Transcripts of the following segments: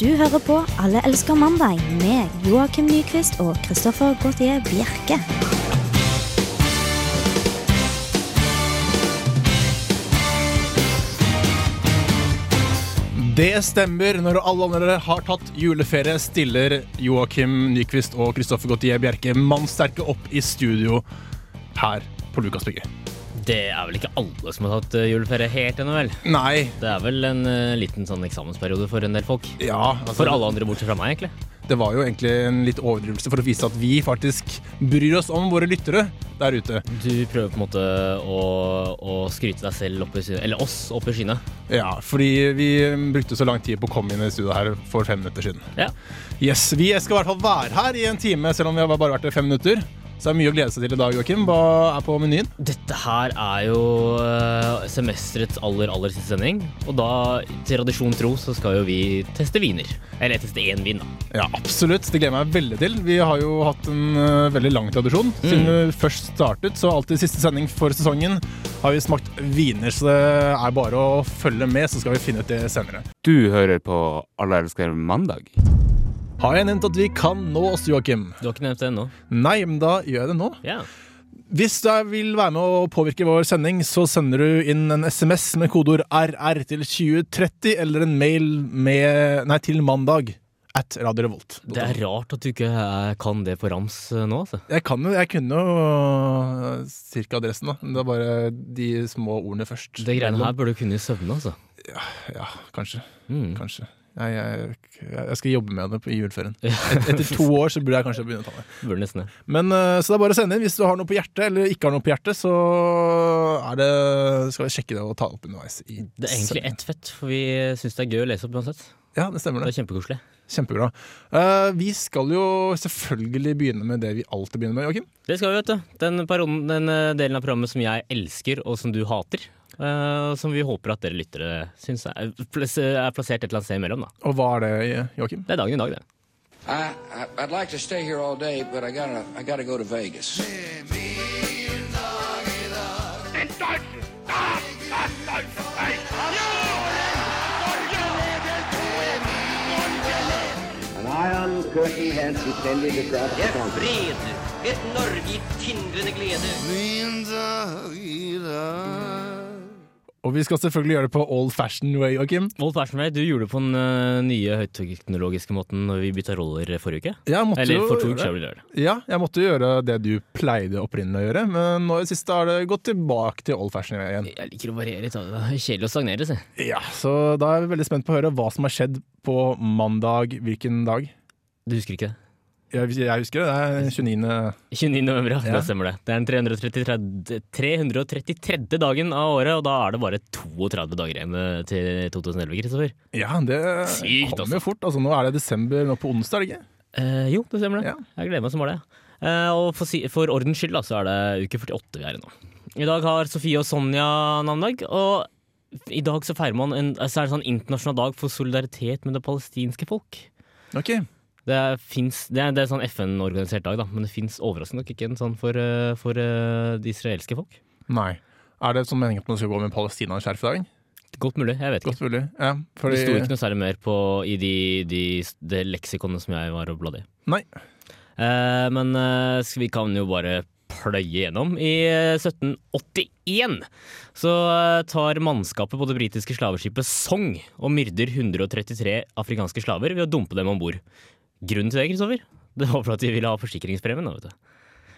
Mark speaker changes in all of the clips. Speaker 1: Du hører på Alle elsker mandag med Joakim Nyquist og Christoffer Gautier Bjerke.
Speaker 2: Det stemmer. Når alle andre har tatt juleferie, stiller Joakim Nyquist og Kristoffer Gautier Bjerke mannsterke opp i studio her på Lukasbygget.
Speaker 3: Det er vel ikke alle som har tatt eh, juleferie helt ennå, vel?
Speaker 2: Nei.
Speaker 3: Det er vel en eh, liten sånn eksamensperiode for en del folk.
Speaker 2: Ja, altså,
Speaker 3: For alle andre bortsett fra meg, egentlig.
Speaker 2: det var jo egentlig en litt overdrivelse for å vise at vi faktisk bryr oss om våre lyttere der ute.
Speaker 3: Du prøver på en måte å, å skryte deg selv opp i skyene, eller oss opp i skyene.
Speaker 2: Ja, fordi vi brukte så lang tid på å komme inn i studio her for fem minutter siden.
Speaker 3: Ja.
Speaker 2: Yes, Vi skal i hvert fall være her i en time, selv om vi har bare vært her fem minutter. Så det er mye å glede seg til i dag, Joakim. Hva er på menyen?
Speaker 3: Dette her er jo eh, semesterets aller, aller siste sending. Og da, til tradisjon tro, så skal jo vi teste viner. Eller teste én vin, da.
Speaker 2: Ja, absolutt. Det gleder jeg meg veldig til. Vi har jo hatt en ø, veldig lang tradisjon. Siden vi først startet, så alltid siste sending for sesongen, har vi smakt viner. Så det er bare å følge med, så skal vi finne ut det senere.
Speaker 4: Du hører på Alle elsker mandag.
Speaker 2: Har jeg nevnt at vi kan nå oss, Joakim?
Speaker 3: Du har ikke nevnt det ennå.
Speaker 2: Nei, men da gjør jeg det nå.
Speaker 3: Ja.
Speaker 2: Hvis du vil være med å påvirke vår sending, så sender du inn en SMS med kodeord RR til 2030, eller en mail med, nei, til mandag at Radio Revolt.
Speaker 3: Det er rart at du ikke eh, kan det på rams eh, nå, altså.
Speaker 2: Jeg kan jo, jeg kunne jo cirka adressen, da. Men det er bare de små ordene først.
Speaker 3: Det greiene her burde du kunne i søvne, altså.
Speaker 2: Ja, kanskje.
Speaker 3: Mm.
Speaker 2: Kanskje. Jeg, jeg, jeg skal jobbe med det på- i juleferien. Et, etter to år så burde jeg kanskje begynne å ta det.
Speaker 3: Burde nesten det.
Speaker 2: Men, eh, så det er bare å sende inn hvis du har noe på hjertet, eller ikke har noe på hjertet, så er det, skal vi sjekke det og ta det opp underveis. I
Speaker 3: Det er egentlig
Speaker 2: sendingen.
Speaker 3: ett fett, for vi syns det er gøy å lese opp uansett.
Speaker 2: Ja, det stemmer
Speaker 3: Det
Speaker 2: det.
Speaker 3: er kjempekoselig.
Speaker 2: Kjempebra. Eh, vi skal jo selvfølgelig begynne med det vi alltid begynner med, Joakim.
Speaker 3: Det skal vi, vet du. Den, perioden, den eh, delen av programmet som jeg elsker, og som du hater. eh, som vi håper at dere lyttere syns er, plass- er plassert et eller annet sted imellom, da.
Speaker 2: Og hva er det, Joakim?
Speaker 3: Det er dagen i dag, det.
Speaker 5: I, I I'd like to stay here all day, but I gotta I gotta go to Vegas.
Speaker 6: An iron curtain has descended across the country.
Speaker 7: Fred, et Norge i tindrende glede.
Speaker 2: Og vi skal selvfølgelig gjøre det på old fashion way, Joakim.
Speaker 3: Old Fashioned Way, du gjorde det på den eh, nye høyteknologiske måten når vi bytta roller forrige uke.
Speaker 2: Jeg måtte
Speaker 3: Eller
Speaker 2: jo
Speaker 3: for to
Speaker 2: gjøre
Speaker 3: uker
Speaker 2: det.
Speaker 3: siden. vi gjorde det.
Speaker 2: Ja, jeg måtte jo gjøre det du pleide opprinnelig å gjøre, men nå i det siste har det gått tilbake til old fashion igjen.
Speaker 3: Jeg liker å variere litt. da. Det er kjedelig å stagnere, si.
Speaker 2: Ja, Så da er jeg veldig spent på å høre hva som har skjedd på mandag. Hvilken dag?
Speaker 3: Du husker ikke det?
Speaker 2: Jeg, jeg husker det. Det er 29.
Speaker 3: 29. november, ja.
Speaker 2: Ja.
Speaker 3: Det stemmer det. Det er den 333, 333. dagen av året, og da er det bare 32 dager igjen eh, til 2011, Kristoffer.
Speaker 2: Ja, det
Speaker 3: Sykt, altså.
Speaker 2: kommer jo fort. Altså, nå er det desember nå på onsdag, er det ikke?
Speaker 3: Eh, jo, det stemmer det.
Speaker 2: Ja.
Speaker 3: Jeg gleder meg som bare det. Eh, og for, si, for ordens skyld, da, så er det uke 48 vi er i nå. I dag har Sofie og Sonja navnedag, og i dag så feirer man en, så er det sånn internasjonal dag for solidaritet med det palestinske folk.
Speaker 2: Ok,
Speaker 3: Det er, finnes, det er, det er sånn FN-organisert dag, da, men det fins overraskende nok ikke en sånn for, eh, for eh, det israelske folk.
Speaker 2: Nei. Er det sånn meningen at man skal gå med Palestina-skjerf i dag?
Speaker 3: Godt mulig, jeg vet ikke.
Speaker 2: Godt mulig. Ja,
Speaker 3: Det sto ikke
Speaker 2: fordi
Speaker 3: noe særlig mer på, i de, de, det leksikonet som jeg var og bladde i.
Speaker 2: Nei.
Speaker 3: Eh, men eh, skal- vi kan jo bare pløye gjennom. I eh, 1781 så eh, tar mannskapet på det britiske slaveskipet Song og myrder 133 afrikanske slaver ved å dumpe dem om bord. Grunnen til det, Kristoffer? Det var for at de ville ha forsikringspremien, da, vet du.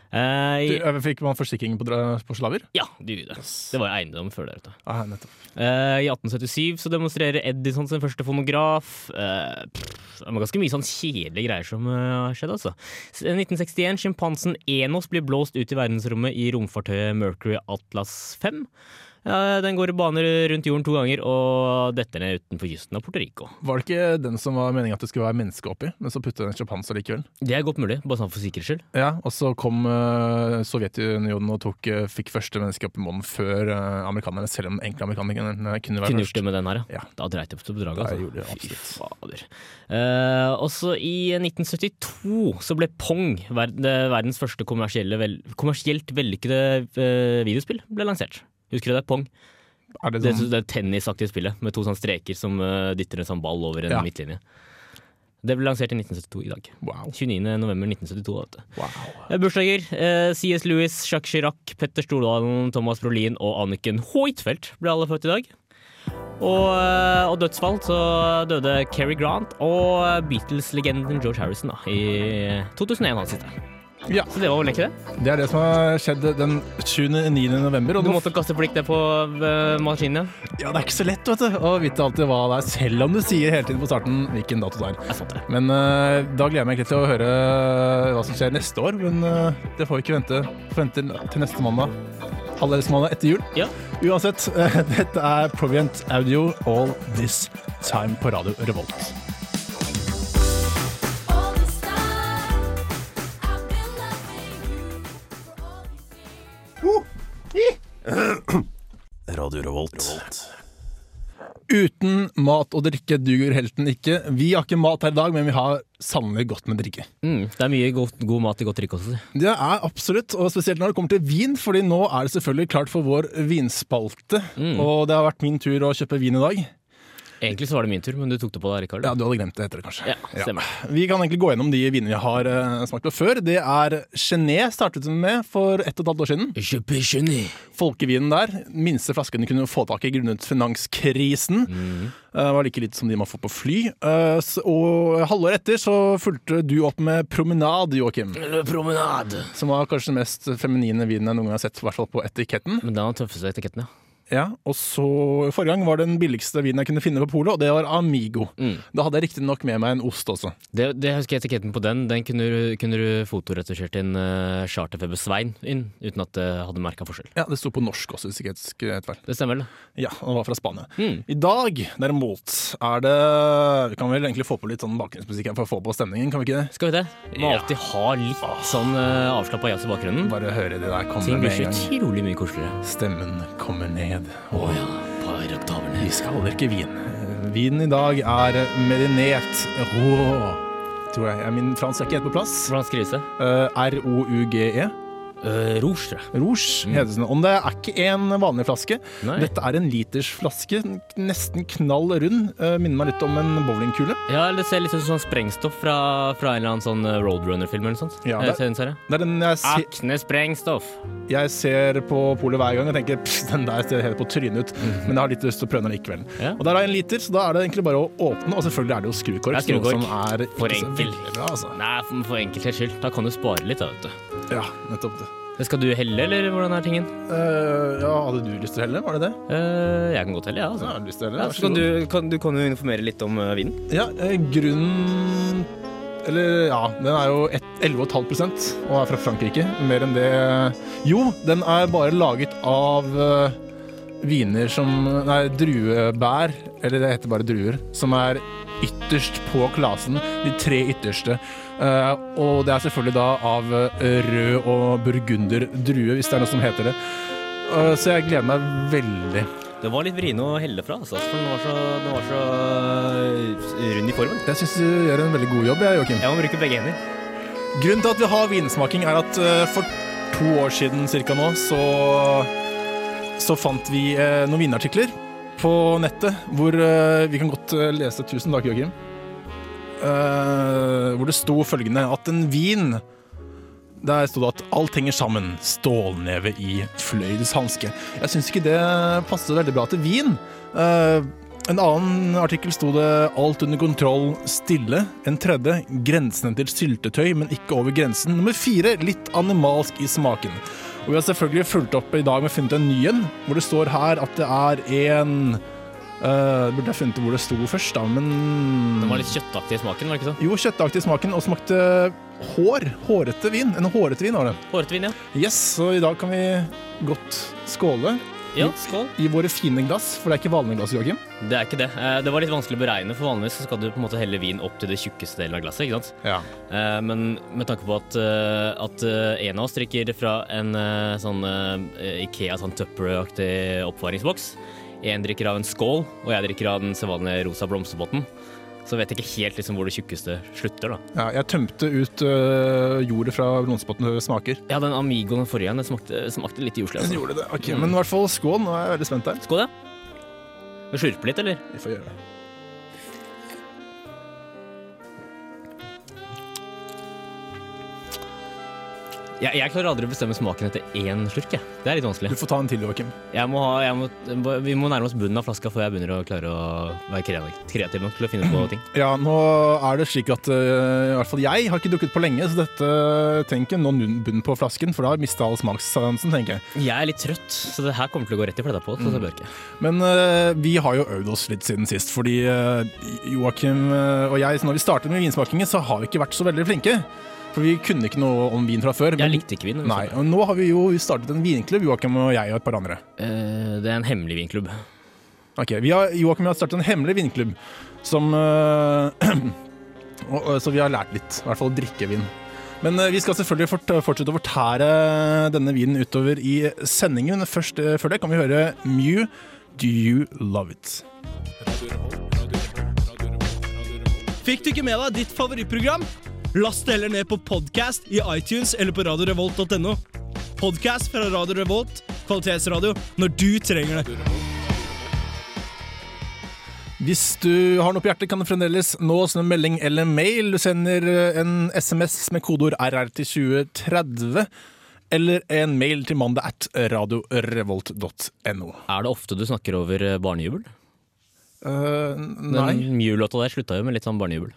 Speaker 3: Eh,
Speaker 2: Du,
Speaker 3: i,
Speaker 2: eh, fikk man forsikring på, dra- på slaver?
Speaker 3: ja, du gjorde det. Det var jo eiendom før det, vet du.
Speaker 2: Ah, nettopp.
Speaker 3: Eh, I 1877 så demonstrerer Edison sin første fonograf. Eh, pff, det var ganske mye sånn kjedelige greier som eh, har skjedd, altså. S- 1961. Sjimpansen Enos blir blåst ut i verdensrommet i romfartøyet Mercury Atlas 5. Eh, den går i baner rundt jorden to ganger og detter ned utenfor kysten av Puerto Rico.
Speaker 2: Var det ikke den som var meningen at det skulle være menneske oppi, men så puttet den sjampanse likevel?
Speaker 3: Det er godt mulig, bare sånn for sikkerhets skyld.
Speaker 2: Ja, og så kom eh, Sovjetunionen og tok, eh, fikk første menneske opp i månen før eh, amerikanerne, selv om egentlig amerikanerne kunne være først.
Speaker 3: Kunne gjort det med den her,
Speaker 2: Ja.
Speaker 3: ja. Da dreit jeg på bedraget,
Speaker 2: Da
Speaker 3: altså.
Speaker 2: gjorde jeg absolutt.
Speaker 3: Fy fader. Eh, også i 1972 så ble Pong, ver det verdens første kommersielle vel kommersielt vellykkede eh, videospill, ble lansert. Husker du det? Pong.
Speaker 2: Er det
Speaker 3: Det,
Speaker 2: sånn,
Speaker 3: det tennisaktige spillet med to sånne streker som eh, dytter en sånn ball over en
Speaker 2: Ja.
Speaker 3: midtlinje. Det ble lansert i 1972 i dag.
Speaker 2: Wow.
Speaker 3: 29.11.1972. Vet du.
Speaker 2: wow.
Speaker 3: Eh, Bursdager. Eh, CS Lewis, Jacques Chirac, Petter Stordalen, Thomas Brolin og Anniken Huitfeldt ble alle født i dag. Og, eh, og dødsfall så døde Kerry Grant og Beatles-legenden George Harrison da, i 2001. hans siste.
Speaker 2: Ja.
Speaker 3: Så det var vel ikke det?
Speaker 2: Det er det som har skjedd den 29. november. Og
Speaker 3: Du
Speaker 2: det,
Speaker 3: måtte kaste blikk der på eh, maskinen.
Speaker 2: ja, det er ikke så lett vet du, å vite alltid hva det er, selv om du sier hele tiden på starten hvilken dato det
Speaker 3: Jeg
Speaker 2: er.
Speaker 3: fant det.
Speaker 2: Men eh, da gleder jeg meg egentlig til å høre eh, hva som skjer neste år, men eh, det får vi ikke vente, får vente til neste mandag. Halvdeles mandag etter jul.
Speaker 3: Ja.
Speaker 2: Uansett, eh, dette er Proviant Audio All This Time på Radio Revolt.
Speaker 8: All this time, I've been loving you for all these years.
Speaker 2: Uten mat og drikke duger helten ikke. Vi har ikke mat her i dag, men vi har sannelig godt med drikke.
Speaker 3: Mm, det er mye godt, god mat i godt drikke også. si.
Speaker 2: Det er absolutt, og spesielt når det kommer til vin, fordi nå er det selvfølgelig klart for vår vinspalte.
Speaker 3: Mm.
Speaker 2: Og det har vært min tur å kjøpe vin i dag.
Speaker 3: Egentlig så var det min tur, men du tok det på deg, Rikard.
Speaker 2: Ja, Du hadde glemt det etter det, kanskje.
Speaker 3: Ja, stemmer.
Speaker 2: Vi kan egentlig gå gjennom de vinene vi har eh, smakt på før. Det er Chenet startet vi med for ett og et halvt år siden.
Speaker 3: Je peux jeûner.
Speaker 2: Folkevinen der. Minste flasken du kunne få tak i grunnet finanskrisen. Eh, var like lite som de man får på fly. Eh, s- og halvåret etter så fulgte du opp med Promenade, Joakim.
Speaker 3: Le promenade.
Speaker 2: Som var kanskje den mest feminine vinen jeg noen gang har sett, i hvert fall på etiketten.
Speaker 3: Men den har den tøffeste etiketten, ja.
Speaker 2: Ja, og så Forrige gang var det den billigste vinen jeg kunne finne på polet, og det var Amigo. Da hadde jeg riktignok med meg en ost også.
Speaker 3: Det, det husker jeg etiketten på den. Den kunne, du- kunne du fotoretusjert en uh, charterfeber Svein inn, uten at det hadde merka forskjell.
Speaker 2: Ja, Det sto på norsk også, hvis ikke jeg husker helt feil.
Speaker 3: Det stemmer vel?
Speaker 2: Ja, og det var fra Spania. I dag, derimot, er det Vi kan vel egentlig få på litt sånn bakgrunnsmusikk her for å få på stemningen, kan vi ikke det?
Speaker 3: Skal vi det? Må alltid ha litt sånn uh, avslappa jazz i bakgrunnen.
Speaker 2: Bare høre det der komme
Speaker 3: Ting blir
Speaker 2: med
Speaker 3: så
Speaker 2: en gang.
Speaker 3: utrolig mye koseligere.
Speaker 2: Stemmen kommer ned.
Speaker 3: Å ja. Par oktaver
Speaker 2: Vi
Speaker 3: ned.
Speaker 2: skal drikke vin. Vinen i dag er merinert. Rå, tror jeg. Ja, Min fransk er ikke helt på plass.
Speaker 3: Hvordan skrives det?
Speaker 2: Eh, R-O-U-G-E.
Speaker 3: Uh, rouge. tror jeg.
Speaker 2: E. Eh, Rouge heter den. Og det er ikke en vanlig flaske.
Speaker 3: Mm. Nei.
Speaker 2: Dette er en liters flaske, nesten knall rund. Eh, Minner meg litt om en bowlingkule.
Speaker 3: Ja, det ser litt ut som sånn sprengstoff fra, fra en eller annen sånn eh, Roadrunner-film eller noe sånt.
Speaker 2: Ja,
Speaker 3: Eh,
Speaker 2: det-
Speaker 3: TV-serie.
Speaker 2: Det er den jeg, se
Speaker 3: Akne sprengstoff.
Speaker 2: jeg ser på polet hver gang og tenker "Pst, den der ser helt på trynet ut, men jeg har litt lyst til å prøve den likevel.
Speaker 3: Mhm. Ja.
Speaker 2: Og der har jeg en liter, så da er det egentlig bare å åpne, og selvfølgelig er det jo skrukork.
Speaker 3: Det er
Speaker 2: noe
Speaker 3: skrukork.
Speaker 2: Som er
Speaker 3: For
Speaker 2: ikke så
Speaker 3: enkel.
Speaker 2: veldig Bra, altså.
Speaker 3: Nei, for, for enkelthets skyld. Da kan du spare litt, da, vet du.
Speaker 2: Ja, nettopp det.
Speaker 3: Det skal du helle, eller hvordan er tingen?
Speaker 2: Eh, ja, hadde du lyst til å helle? Var det det?
Speaker 3: Eh, jeg kan godt helle, jeg, ja,
Speaker 2: Ja,
Speaker 3: altså.
Speaker 2: hadde du lyst til å helle?
Speaker 3: Ja,
Speaker 2: Vær
Speaker 3: så
Speaker 2: så
Speaker 3: kan
Speaker 2: god.
Speaker 3: du, kan, du kan jo informere litt om eh, vinen.
Speaker 2: Ja, eh, grunnen Eller ja, den er jo ett- 11,5 og er fra Frankrike. Mer enn det Jo, den er bare laget av eh, viner som Nei, druebær. Eller det heter bare druer. Som er ytterst på klasen. De tre ytterste. Eh, og det er selvfølgelig da av eh, rød og burgunder drue, hvis det er noe som heter det. Eh, så jeg gleder meg veldig.
Speaker 3: Det var litt vriene å helle fra, altså, for den var så, den var så eh, rund i formen.
Speaker 2: Jeg syns du gjør en veldig god jobb, jeg, Joakim.
Speaker 3: Jeg må bruke begge hender.
Speaker 2: Grunnen til at vi har vinsmaking er at eh, for to år siden cirka nå, så, så fant vi eh, noen vinartikler på nettet, hvor eh, vi kan godt eh, lese tusen takk, Joakim. Eh, hvor det sto følgende at en vin der sto det at alt henger sammen. Stålneve i fløyelshanske. Jeg syns ikke det passer veldig bra til vin. Eh, en annen artikkel sto det 'alt under kontroll, stille'. En tredje 'grensene til syltetøy, men ikke over grensen'. Nummer fire 'litt animalsk i smaken'. Og vi har selvfølgelig fulgt opp i dag med å funnet en ny en, hvor det står her at det er en eh, Burde jeg funnet hvor det sto først, da, men
Speaker 3: Den var litt kjøttaktig i smaken, var det ikke sånn?
Speaker 2: Jo, kjøttaktig i smaken, og smakte hår. Hårete vin. En hårete vin var det.
Speaker 3: Hårete vin, ja.
Speaker 2: Yes, så i dag kan vi godt skåle
Speaker 3: Ja, skål.
Speaker 2: i våre fine glass, for det er ikke vanlige glass, Joakim.
Speaker 3: Det er ikke det. Eh, Det var litt vanskelig å beregne, for vanligvis så skal du på en måte helle vin opp til det tjukkeste delen av glasset, ikke sant?
Speaker 2: Ja.
Speaker 3: Eh, Men med tanke på at, eh, at eh, en av oss drikker fra en eh, sånn eh, Ikea sånn Tupperware-aktig oppvaringsboks, en drikker av en skål, og jeg drikker av den sedvanlige rosa blomsterpotten, så vet jeg ikke helt liksom, hvor det tjukkeste slutter. da.
Speaker 2: jeg tømte ut øh, jordet fra blomsterpotten for smaker.
Speaker 3: Ja, den Amigoen den forrige den smakte, smakte litt jordlig. Altså.
Speaker 2: gjorde det. Ok, Men i hvert fall skål. Nå er jeg veldig spent her.
Speaker 3: Skål, ja. Skal vi slurpe litt, eller?
Speaker 2: Vi får gjøre det.
Speaker 3: Jeg, jeg klarer aldri å bestemme smaken etter én slurk. Jeg. Det er litt vanskelig.
Speaker 2: Du får ta en til, Joakim.
Speaker 3: Jeg må ha, jeg må, vi må nærme oss bunnen av flaska før jeg begynner å klare å være kreativ, kreativ nok til å finne på ting.
Speaker 2: Ja, nå er det slik at øh, i hvert fall jeg har ikke drukket på lenge, så dette øh, tenker jeg nå nunn- bunnen på flasken, for da har jeg mista all smakssansen, tenker jeg.
Speaker 3: Jeg er litt trøtt, så det her kommer til å gå rett i fletta på. Så det bør ikke.
Speaker 2: Men øh, vi har jo øvd oss litt siden sist, fordi øh, Joakim øh, og jeg, så når vi startet med vinsmakingen, så har vi ikke vært så veldig flinke. For vi kunne ikke noe om vin fra før.
Speaker 3: Jeg likte ikke vin.
Speaker 2: Mm. Nei, og nå har vi jo startet en vinklubb, Joakim og jeg og et par andre.
Speaker 3: Eh, det er en hemmelig vinklubb.
Speaker 2: Ok, vi har, Joakim og jeg har startet en hemmelig vinklubb som øh, og, og, Så vi har lært litt, i hvert fall drikkevin. Men øh, vi skal selvfølgelig fort, fortsette å fortære denne vinen utover i sendingen. Men først øh, før det kan vi høre Mew, Do You Love It?
Speaker 9: Fikk du ikke med deg ditt favorittprogram? Last det heller ned på podcast i iTunes eller på radiorevolt.no. Podcast fra Radio Revolt, kvalitetsradio, når du trenger det.
Speaker 2: Hvis du har noe på hjertet, kan du fremdeles nå oss med melding eller mail. Du sender øh, en SMS med kodeord RR til 2030. Eller en mail til mandag at radiorevolt.no.
Speaker 3: Er det ofte du snakker over eh, barnejubel?
Speaker 2: Øh, nei.
Speaker 3: Den Mew-låta der slutta jo med litt sånn barnejubel.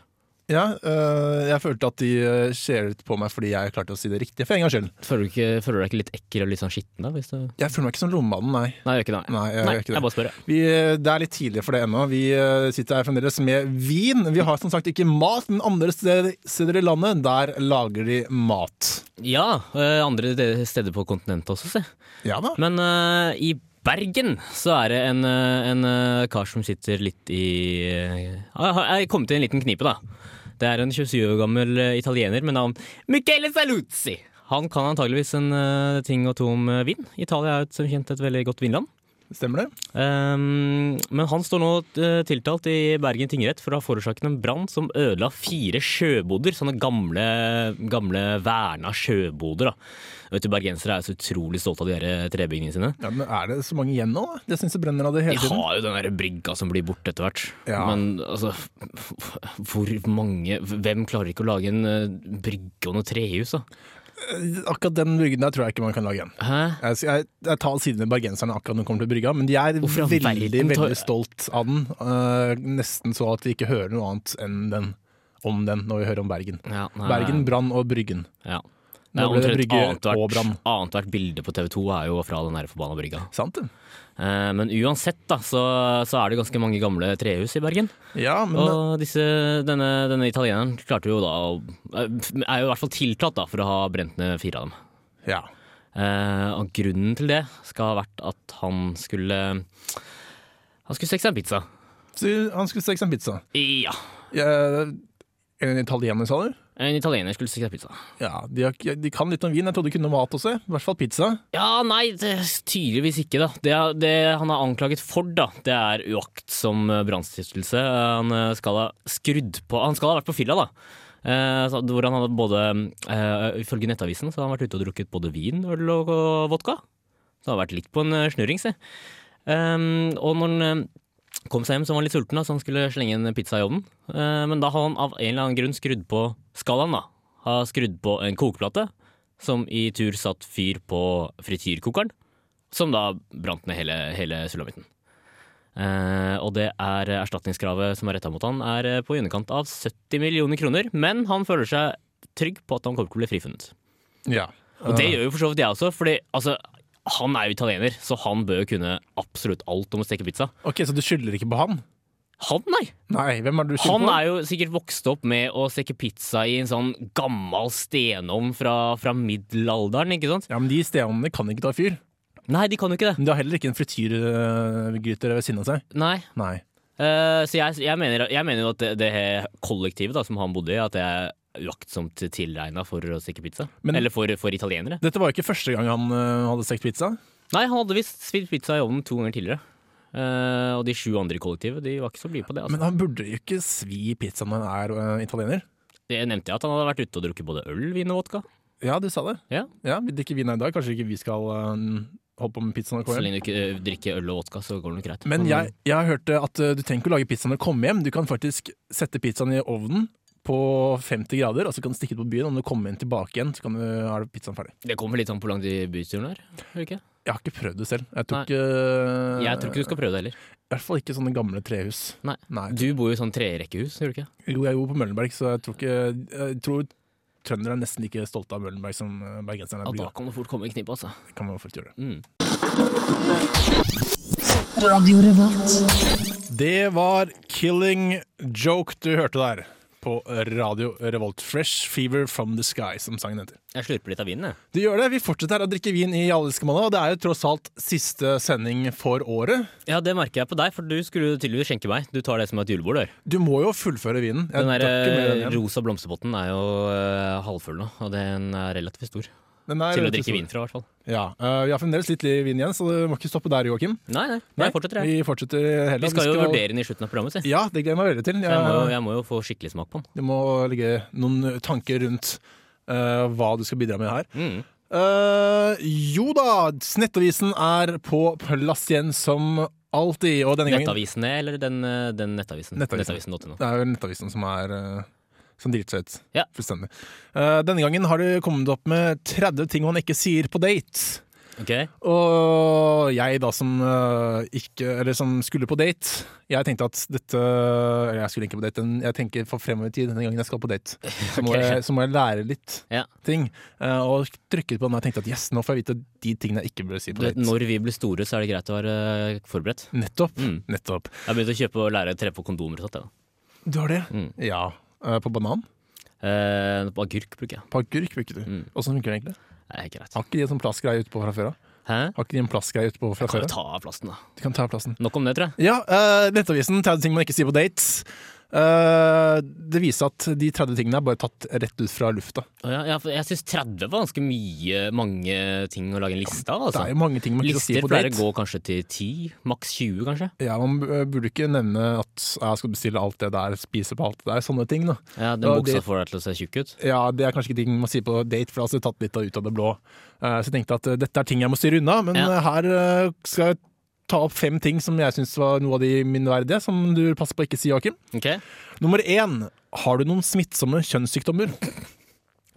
Speaker 2: Ja, øh, jeg følte at de øh, skjeler ut på meg fordi jeg klarte å si det riktig for en gangs skyld.
Speaker 3: Føler du, ikke, føler du deg ikke litt ekkel og litt sånn skitten da? Hvis du... Nei,
Speaker 2: Jeg føler meg ikke som lommemannen, nei.
Speaker 3: jeg gjør ikke det.
Speaker 2: Nei, jeg gjør ikke det.
Speaker 3: jeg bare spør. jeg.
Speaker 2: Vi, øh, det er litt tidlig for det ennå. Vi øh, sitter her fremdeles med vin. Vi har som sagt ikke mat, men andre steder, steder i landet, der lager de mat.
Speaker 3: Ja, eh, andre de- steder på kontinentet også, se.
Speaker 2: Ja da.
Speaker 3: Men eh, i Bergen så er det en, eh, en eh, kar som sitter litt i uh, Jeg kom til en liten knipe, da. Det er en 27 år gammel eh, italiener med navn Michele Saluzzi. Han kan antageligvis en eh, ting og to om eh, vin. Italia er jo et- som kjent et veldig godt vinland.
Speaker 2: Stemmer det?
Speaker 3: Ehm, men han står nå eh, tiltalt i Bergen tingrett for å ha forårsaket en brann som ødela fire sjøboder. Sånne gamle, gamle verna sjøboder. Da. Vet du, Bergensere er jo så utrolig stolte av de der trebygningene sine.
Speaker 2: Ja, men er det så mange igjen nå? da? Jeg syns det brenner av det
Speaker 3: De
Speaker 2: hele tiden.
Speaker 3: har jo den der brygga som blir borte etter hvert.
Speaker 2: Ja.
Speaker 3: Men altså, hvor mange Hvem klarer ikke å lage en eh, brygge og noe trehus, da?
Speaker 2: Akkurat den bryggen der tror jeg ikke man kan lage igjen.
Speaker 3: Hæ?
Speaker 2: Jeg, jeg, jeg tar siden med bergenserne akkurat når det kommer til brygga, men de er
Speaker 3: Hvorfor i all
Speaker 2: veldig
Speaker 3: verden tar-
Speaker 2: veldig stolt av den. øh, nesten så at de ikke hører noe annet enn den, om den når vi hører om Bergen.
Speaker 3: Ja, nei.
Speaker 2: Bergen, brann og Bryggen.
Speaker 3: Ja.
Speaker 2: Nå ble det brygge og brann.
Speaker 3: Annethvert bilde på TV 2 er jo fra den der forbanna brygga.
Speaker 2: Sant det?
Speaker 3: Eh, Men uansett da, så, så er det ganske mange gamle trehus i Bergen.
Speaker 2: Ja, men eh,
Speaker 3: Og disse, denne, denne italieneren klarte jo da å eh, Er jo i hvert fall tiltalt da, for å ha brent ned fire av dem.
Speaker 2: ja.
Speaker 3: Eh, og grunnen til det skal ha vært at han skulle Han skulle stikke seg en pizza.
Speaker 2: Så han skulle stikke seg en pizza.
Speaker 3: Ja.
Speaker 2: Jeg, en italiener, sa du?
Speaker 3: En italiener skulle stikke seg pizza.
Speaker 2: Ja, de, har, ikke- de kan litt om vin. Jeg trodde de kunne mat også. I hvert fall pizza.
Speaker 3: Ja, nei, det, tydeligvis ikke, da. Det, det han er anklaget for, da, det er uaktsom eh, brannstiftelse. Eh, Han eh, skal ha skrudd på Han skal ha vært på fylla, da. Eh, så- hvor han hadde både eh, Ifølge Nettavisen så har han vært ute og drukket både vin, øl og, og vodka. Så han har vært litt på en eh, snurring, se. Ehm, og når han eh, kom seg hjem, så var han litt sulten, da, så han skulle slenge en pizza i ovnen. Eh, men da har han av en eller annen grunn skrudd på skalaen, da. Har skrudd på en kokeplate, som i tur satt fyr på frityrkokeren, som da brant ned hele, hele sulamitten. Eh, og det er erstatningskravet som er retta mot han, er eh, på i underkant av 70 millioner kroner, men han føler seg trygg på at han kommer til å bli frifunnet.
Speaker 2: Ja.
Speaker 3: Og det gjør jo for så vidt jeg også, fordi altså, han er jo italiener, så han bør jo kunne absolutt alt om å steke pizza.
Speaker 2: Ok, Så du skylder ikke på han?
Speaker 3: Han, nei!
Speaker 2: Nei, hvem er det du skylder
Speaker 3: Han
Speaker 2: på?
Speaker 3: er jo sikkert vokst opp med å steke pizza i en sånn gammel stenovn fra, fra middelalderen, ikke sant?
Speaker 2: Ja, men De steovnene kan ikke ta fyr.
Speaker 3: Nei, de kan jo ikke det.
Speaker 2: Men de har heller ikke en frityrgryter ved siden av seg.
Speaker 3: Nei.
Speaker 2: Nei.
Speaker 3: Eh, så jeg, jeg, mener, jeg mener jo at det, det her kollektivet da, som han bodde i, at det er uaktsomt tilregna for å steke pizza.
Speaker 2: Men-
Speaker 3: Eller for, for italienere.
Speaker 2: Dette var jo ikke første gang han øh, hadde stekt pizza.
Speaker 3: Nei, han hadde visst spist pizza i ovnen to ganger tidligere. Eh, og de sju andre i kollektivet de var ikke så blide på det. Altså.
Speaker 2: Men han burde jo ikke svi pizza når han er øh, italiener.
Speaker 3: Det nevnte jeg at han hadde vært ute og drukket både øl, vin og vodka.
Speaker 2: Ja, du sa det.
Speaker 3: Ja.
Speaker 2: Vi drikker vin her i dag. Kanskje ikke vi skal øh, holde på med pizza når vi
Speaker 3: Så
Speaker 2: kommer hjem.
Speaker 3: lenge du ikke eh, drikker øl og vodka, så går det nok greit.
Speaker 2: eh, Men jeg, jeg hørte at øh, du trenger ikke å lage pizza når du kommer hjem. Du kan faktisk sette pizzaen i ovnen på 50 grader, og så kan du stikke ut på byen. Om du kommer inn tilbake igjen, så kan du, er det pizzaen ferdig.
Speaker 3: Det kommer litt sånn på hvor langt i byturen er. er det Ikke?
Speaker 2: Jeg har ikke prøvd det selv. Jeg eh,
Speaker 3: Nei.
Speaker 2: tror ikke
Speaker 3: Jeg tror ikke du skal prøve det heller.
Speaker 2: I hvert fall ikke sånne gamle trehus.
Speaker 3: Nei.
Speaker 2: Nei.
Speaker 3: Du bor jo i sånn trerekkehus, gjør du ikke?
Speaker 2: Jo, jeg bor på Møllenberg, så jeg tror ikke Jeg tror trøndere er nesten like stolte av Møllenberg som eh, bergenserne
Speaker 3: Ja,
Speaker 2: er.
Speaker 3: da
Speaker 2: Ja,
Speaker 3: kan det fort komme en knipp, altså.
Speaker 2: kan man fort gjøre.
Speaker 3: Mm.
Speaker 2: Det var 'Killing Joke' du hørte der. På Radio Revolt Fresh Fever From The Sky, som sangen heter.
Speaker 3: Jeg slurper litt av vinen, jeg.
Speaker 2: Du gjør det, Vi fortsetter her å drikke vin i Allelskemanna. Det er jo tross alt siste sending for året.
Speaker 3: Ja, det merker jeg på deg, for du skulle jo tydeligvis skjenke meg. Du tar det som et julebord, du.
Speaker 2: Du må jo fullføre vinen. Jeg
Speaker 3: Den
Speaker 2: drakk ikke mer
Speaker 3: der
Speaker 2: enn
Speaker 3: eh,
Speaker 2: en.
Speaker 3: rosa blomsterpotten er jo eh, halvfull nå, og den er relativt stor.
Speaker 2: Den er
Speaker 3: Til å
Speaker 2: relativt
Speaker 3: drikke
Speaker 2: stor.
Speaker 3: vin fra, i hvert fall.
Speaker 2: Ja, eh, Vi har fremdeles litt vin igjen, så det må ikke stoppe der, Joakim.
Speaker 3: Nei, nei, jeg fortsetter, jeg.
Speaker 2: Vi fortsetter heller.
Speaker 3: Vi skal jo vurdere den i slutten av programmet, si.
Speaker 2: Ja, det gleder jeg meg veldig til.
Speaker 3: Så jeg må, jo-
Speaker 2: Jeg,
Speaker 3: jeg må jo få skikkelig smak på den.
Speaker 2: du må legge noen tanker rundt eh, hva du skal bidra med her.
Speaker 3: Mm.
Speaker 2: Eh, jo da, Nettavisen er på plass igjen som alltid, og denne gangen
Speaker 3: Nettavisene, eller den, eh, den nettavisen?
Speaker 2: Nettavisen.
Speaker 3: Nettavisen.no.
Speaker 2: Det er jo Nettavisen som er eh, som driter seg ut.
Speaker 3: Ja.
Speaker 2: Fullstendig. Eh, denne gangen har du kommet opp med 30 ting man ikke sier på date.
Speaker 3: Ok.
Speaker 2: Og jeg da som eh, ikke Eller som skulle på date, jeg tenkte at dette Eller jeg skulle ikke på date, men jeg tenker for fremover i tid, denne gangen jeg skal på date, så må,
Speaker 3: Ok.
Speaker 2: jeg, så må jeg lære litt
Speaker 3: Ja.
Speaker 2: ting. Eh, og trykket på den og tenkte at yes, nå får jeg vite de tingene jeg ikke burde si
Speaker 3: Du
Speaker 2: på
Speaker 3: vet,
Speaker 2: date.
Speaker 3: når vi blir store, så er det greit å være eh, forberedt.
Speaker 2: Nettopp.
Speaker 3: Mm.
Speaker 2: Nettopp.
Speaker 3: Jeg har begynt å kjøpe og lære å tre på kondomer og sånt. jeg, da.
Speaker 2: Du har det?
Speaker 3: Mm.
Speaker 2: Ja. Eh, på banan?
Speaker 3: Eh, på agurk bruker jeg.
Speaker 2: På agurk bruker du.
Speaker 3: Mm.
Speaker 2: Åssen funker det egentlig?
Speaker 3: Det er ikke greit.
Speaker 2: Har ikke de en sånn plastgreie utpå fra før av?
Speaker 3: Hæ?
Speaker 2: Har ikke de en plastgreie utpå fra
Speaker 3: Kan
Speaker 2: før
Speaker 3: jo
Speaker 2: av?
Speaker 3: ta av plasten, da.
Speaker 2: Du kan ta plassen.
Speaker 3: Nok om det, tror jeg.
Speaker 2: Ja, eh, Nettavisen 30 ting man ikke sier på dates. Eh, det viser at de 30 tingene er bare tatt rett ut fra lufta.
Speaker 3: Å Ja, ja, for jeg syns 30 var ganske mye, mange ting å lage en liste av.
Speaker 2: Det
Speaker 3: Altså.
Speaker 2: er jo mange ting man ikke skal si
Speaker 3: Lister
Speaker 2: på
Speaker 3: pleier å
Speaker 2: date.
Speaker 3: gå kanskje til 10, maks 20 kanskje.
Speaker 2: Ja, Man b- burde ikke nevne at jeg skal bestille alt det der, spise på alt det der, sånne ting. da.
Speaker 3: Ja, Den
Speaker 2: Ja,
Speaker 3: buksa
Speaker 2: det-
Speaker 3: får deg til å se tjukk ut.
Speaker 2: Ja, Det er kanskje ikke ting man sier på date, for da har jeg tatt litt av- ut av det blå. Eh, så jeg tenkte at eh, dette er ting jeg må styre unna, men
Speaker 3: Ja.
Speaker 2: eh, her eh, skal jeg ta opp fem ting som jeg syns var noe av de minneverdige, som du passer på å ikke si, Joakim.
Speaker 3: Ok,
Speaker 2: Nummer én har du noen smittsomme kjønnssykdommer.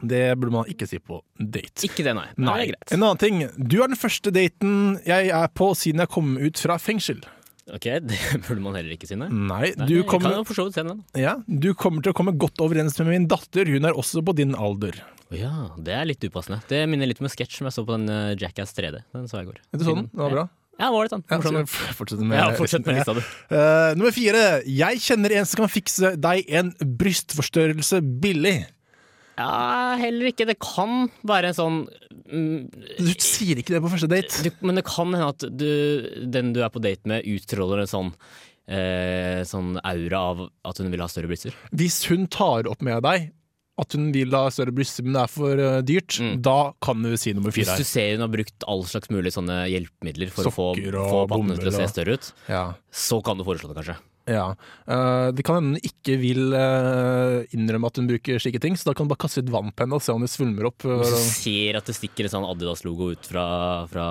Speaker 2: Det burde man ikke si på date.
Speaker 3: Ikke det, nei. nei.
Speaker 2: Nei.
Speaker 3: Det er greit.
Speaker 2: En annen ting. Du er den første daten jeg er på siden jeg kom ut fra fengsel.
Speaker 3: Ok, Det burde man heller ikke si, nei.
Speaker 2: Nei,
Speaker 3: Nei,
Speaker 2: Mm. du
Speaker 3: jeg kan
Speaker 2: kommer,
Speaker 3: jo for så vidt se den. da.
Speaker 2: ja, du kommer til å komme godt overens med min datter. Hun er også på din alder.
Speaker 3: Å ja, det er litt upassende. Det minner litt om en sketsj som jeg så på den eh, Jackass 3D. Den så jeg i går.
Speaker 2: Er du sånn? Det var bra.
Speaker 3: Ja, var det sånn.
Speaker 2: Ja,
Speaker 3: Morsom,
Speaker 2: skal
Speaker 3: da.
Speaker 2: jeg f- fortsette med,
Speaker 3: Ja, fortsett med lista, du.
Speaker 2: Eh, nummer fire. Jeg kjenner en som kan fikse deg en brystforstørrelse billig.
Speaker 3: Ja, heller ikke. Det kan være en sånn mm,
Speaker 2: Du sier ikke det på første date.
Speaker 3: du, Men det kan hende at du, den du er på date med, utstråler en sånn eh, Sånn aura av at hun vil ha større bryster.
Speaker 2: Hvis hun tar opp med deg at hun vil ha større bryster, men det er for eh, dyrt, da kan du si nummer
Speaker 3: Mm. Hvis
Speaker 2: fire.
Speaker 3: du ser hun har brukt all slags mulig sånne hjelpemidler for
Speaker 2: Sokker og
Speaker 3: å få, få pattene til å
Speaker 2: bomull
Speaker 3: se
Speaker 2: og-
Speaker 3: større ut,
Speaker 2: Ja.
Speaker 3: så kan du foreslå det, kanskje.
Speaker 2: Ja. Eh, det kan hende hun ikke vil eh, innrømme at hun bruker slike ting, så da kan du bare kaste litt vann på henne og se om det svulmer opp.
Speaker 3: Hvis du
Speaker 2: eh,
Speaker 3: ser at det stikker en sånn Adidas-logo ut fra, fra,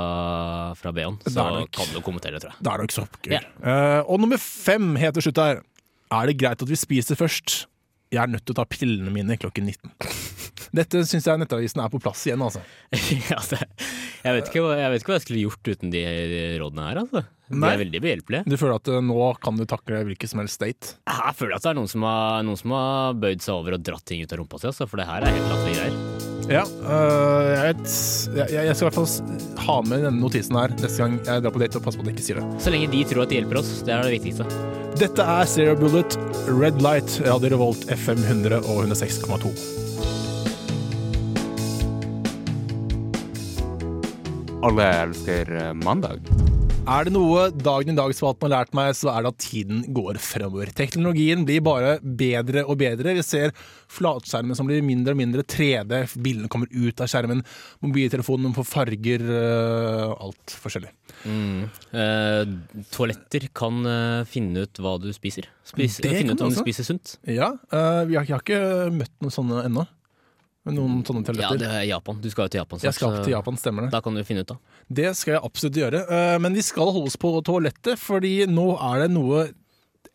Speaker 3: fra BH-en,
Speaker 2: Det er
Speaker 3: så
Speaker 2: nok-
Speaker 3: kan du kommentere det, tror jeg.
Speaker 2: Da er det jo ikke så oppgøy.
Speaker 3: Ja.
Speaker 2: Eh, og nummer fem helt til slutt her. Er det greit at vi spiser først? Jeg er nødt til å ta pillene mine klokken 19. Dette syns jeg Nettavisen er på plass igjen, altså.
Speaker 3: ja, det, jeg, vet ikke, hva- jeg vet ikke hva jeg skulle gjort uten de rådene her, altså. De
Speaker 2: Nei.
Speaker 3: er veldig behjelpelige.
Speaker 2: Du føler at eh, nå kan du takle hvilken som helst date?
Speaker 3: Her føler jeg at det er noen som har, noen som har bøyd seg over og dratt ting ut av rumpa si, altså, for det her er helt latterlige greier.
Speaker 2: Ja. eh, jeg, vet, jeg, jeg skal i hvert fall s- ha med denne notisen her neste gang jeg drar på date, og passe på at jeg ikke sier det.
Speaker 3: Så lenge de tror at de hjelper oss, det er det viktigste.
Speaker 2: Dette er Zero Bullet, Red Light, Radio Revolt, FM 100 og 106,2.
Speaker 4: Alle elsker eh, mandag.
Speaker 2: Er det noe dagen i dag-spalten har lært meg, så er det at tiden går fremover. Teknologien blir bare bedre og bedre. Vi ser flatskjermen som blir mindre og mindre 3D, bildene kommer ut av skjermen, mobiltelefonen får farger, øh, alt forskjellig.
Speaker 3: Eh, toaletter kan eh, finne ut hva du spiser. Spis,
Speaker 2: Det
Speaker 3: finne
Speaker 2: kan
Speaker 3: ut
Speaker 2: du
Speaker 3: om du
Speaker 2: også.
Speaker 3: spiser sunt.
Speaker 2: Ja, øh, vi har, jeg har ikke møtt noen sånne ennå. Men Noen sånne
Speaker 3: Ja,
Speaker 2: toaletter.
Speaker 3: det er Japan. Du skal jo til Japan. snart,
Speaker 2: jeg skal
Speaker 3: så
Speaker 2: til Japan, stemmer det.
Speaker 3: Da kan du finne ut da.
Speaker 2: Det skal jeg absolutt gjøre. eh, Men vi skal holde oss på toalettet, fordi nå er det noe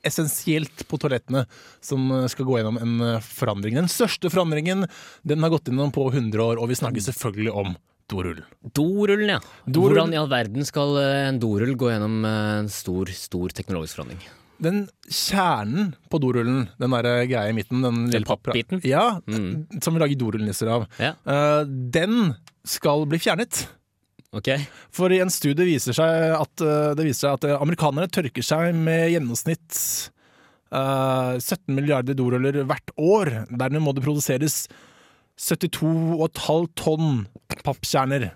Speaker 2: essensielt på toalettene som eh, skal gå gjennom en eh, forandring. Den største forandringen den har gått gjennom på 100 år, og vi snakker selvfølgelig om dorullen.
Speaker 3: Dorullen, ja.
Speaker 2: Dorullen.
Speaker 3: Hvordan i all verden skal eh, en dorull gå gjennom eh, en stor, stor teknologisk forandring?
Speaker 2: Den kjernen på dorullen, den der eh, greia i midten Den, lille papra-
Speaker 3: pappbiten?
Speaker 2: Ja, som vi lager dorullnisser av.
Speaker 3: Mm. Ja.
Speaker 2: eh, Den skal bli fjernet.
Speaker 3: Ok.
Speaker 2: For i en studie viser seg at, eh, det viser seg at eh, amerikanere tørker seg med gjennomsnitt eh, 17 milliarder doruller hvert år. Dermed må det produseres 72,5 tonn pappkjerner.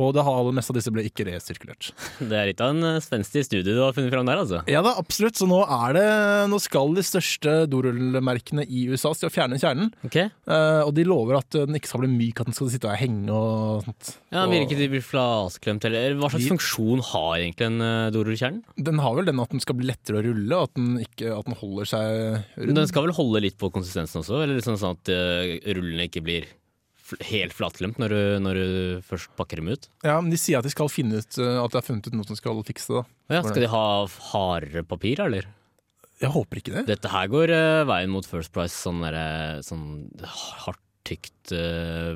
Speaker 2: Og det halve meste av disse ble ikke resirkulert.
Speaker 3: Det er litt av en eh, spenstig studie du har funnet fram der, altså.
Speaker 2: Ja da, absolutt. Så nå, er det, nå skal de største dorullmerkene i USA til å fjerne kjernen.
Speaker 3: Ok.
Speaker 2: Eh, og de lover at den ikke skal bli myk, at den skal sitte og henge og sånt.
Speaker 3: Ja,
Speaker 2: og
Speaker 3: Vil ikke de bli flasklemt heller? Hva slags
Speaker 2: De-
Speaker 3: funksjon har egentlig en eh, dorullkjerne?
Speaker 2: Den har vel den at den skal bli lettere å rulle, og at den, ikke, at den holder seg
Speaker 3: Men Den skal vel holde litt på konsistensen også, eller liksom sånn at eh, rullene ikke blir fl helt flatklemt når du, når du først pakker dem ut?
Speaker 2: Ja, men De sier at de skal finne ut uh, At de har funnet ut noe som skal fikse det. da
Speaker 3: Ja, skal de ha hardere papir, eller?
Speaker 2: Jeg håper ikke det.
Speaker 3: Dette her går eh, veien mot First Price, sånn, derre- sånn hardt tykt uh,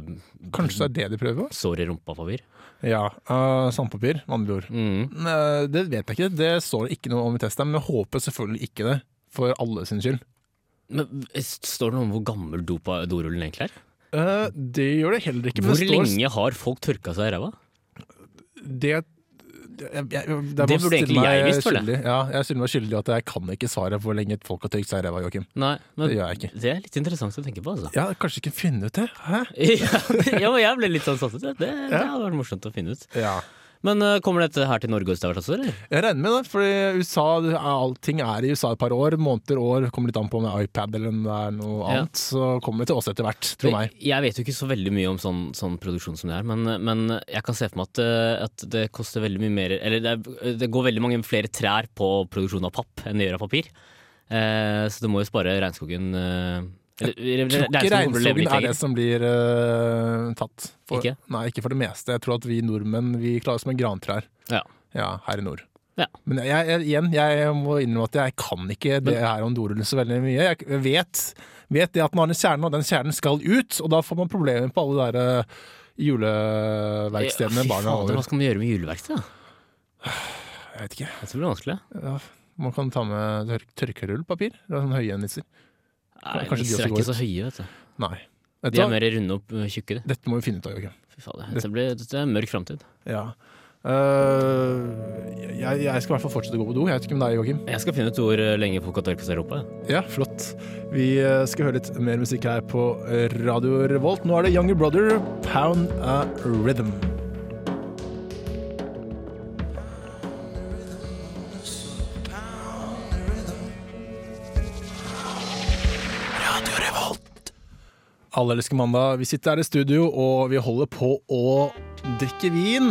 Speaker 2: Kanskje det er det de prøver på?
Speaker 3: sår i rumpa-papir.
Speaker 2: Ja, uh, Sandpapir, med andre ord.
Speaker 3: Mm.
Speaker 2: Men, uh, det vet jeg ikke. Det står det ikke noe om i testen, men jeg håper selvfølgelig ikke det. For alle sin skyld.
Speaker 3: Men eh, s- Står det noe om hvor gammel dopa, dorullen egentlig er?
Speaker 2: Uh, det gjør det heller ikke. men
Speaker 3: Hvor
Speaker 2: det står,
Speaker 3: lenge har folk tørka seg i ræva?
Speaker 2: Det, det, jeg, jeg, det,
Speaker 3: Det
Speaker 2: er bare å
Speaker 3: burde
Speaker 2: stille
Speaker 3: egentlig jeg
Speaker 2: meg
Speaker 3: visst, føler
Speaker 2: skyldig. Ja, jeg stiller meg skyldig i at jeg kan ikke svare på hvor lenge folk har trykt seg i ræva, Joakim.
Speaker 3: Nei, men
Speaker 2: Det gjør jeg
Speaker 3: det er litt interessant å tenke på, altså.
Speaker 2: Ja, kanskje ikke finne ut det? Hæ?
Speaker 3: ja, ja, men jeg ble litt sånn satt ut. Det, det, det hadde vært morsomt å finne ut.
Speaker 2: Ja.
Speaker 3: Men øh, kommer dette her til Norge og Stavert også, eller?
Speaker 2: Jeg regner med det, fordi USA, det er- allting er i USA et par år. Måneder, år. Kommer litt an på om det er iPad eller om det er noe
Speaker 3: Ja.
Speaker 2: annet. Så kommer det til oss etter hvert, tror jeg.
Speaker 3: Jeg vet jo ikke så veldig mye om sånn, sånn produksjon som det er, men, men jeg kan se for meg at, øh, at det koster veldig mye mer Eller det, er, det går veldig mange flere trær på produksjon av papp enn det gjør av papir. Eh, så du må jo spare regnskogen øh, eller-
Speaker 2: Tror ikke
Speaker 3: regnskogen kommer til å leve
Speaker 2: regnskogen
Speaker 3: litt
Speaker 2: er
Speaker 3: lenger.
Speaker 2: det som blir eh, tatt. For,
Speaker 3: Ikke?
Speaker 2: Nei, ikke for det meste. Jeg tror at vi nordmenn vi klarer oss med grantrær
Speaker 3: Ja.
Speaker 2: Ja, her i nord.
Speaker 3: Ja.
Speaker 2: Men jeg, jeg, igjen, jeg må innrømme at jeg kan ikke det her om dorullen så veldig mye. Jeg vet, vet det at den har en kjerne, og den kjernen skal ut, og da får man problemer på alle de der eh,
Speaker 3: Ja,
Speaker 2: juleverkstedene
Speaker 3: fy
Speaker 2: barna
Speaker 3: fader, altså.
Speaker 2: har.
Speaker 3: Hva skal man gjøre med juleverkstedet? da?
Speaker 2: Jeg vet ikke.
Speaker 3: Jeg tror det blir vanskelig.
Speaker 2: Ja, man kan ta med tør tørkerullpapir. Det er sånn høye nisser.
Speaker 3: Nei,
Speaker 2: kanskje de
Speaker 3: Nisser er
Speaker 2: også
Speaker 3: ikke så høye, vet du.
Speaker 2: Nei. Vet
Speaker 3: De
Speaker 2: du
Speaker 3: er
Speaker 2: hva?
Speaker 3: mer runde og øh, tjukke, de.
Speaker 2: Dette må vi finne ut av, Joakim.
Speaker 3: Fy fader, dette, blir, dette er en mørk framtid.
Speaker 2: Ja. Eh, jeg, jeg skal i hvert fall fortsette å gå på do. Jeg vet ikke om det er Joakim.
Speaker 3: Jeg skal finne ut hvor lenge folk har tørka seg i rumpa.
Speaker 2: Ja, flott. Vi eh, skal høre litt mer musikk her på Radio Revolt. Nå er det Younger Brother, Pound a Rhythm. Radio Revolt. Alle elsker mandag. Vi sitter her i studio, og vi holder på å drikke vin.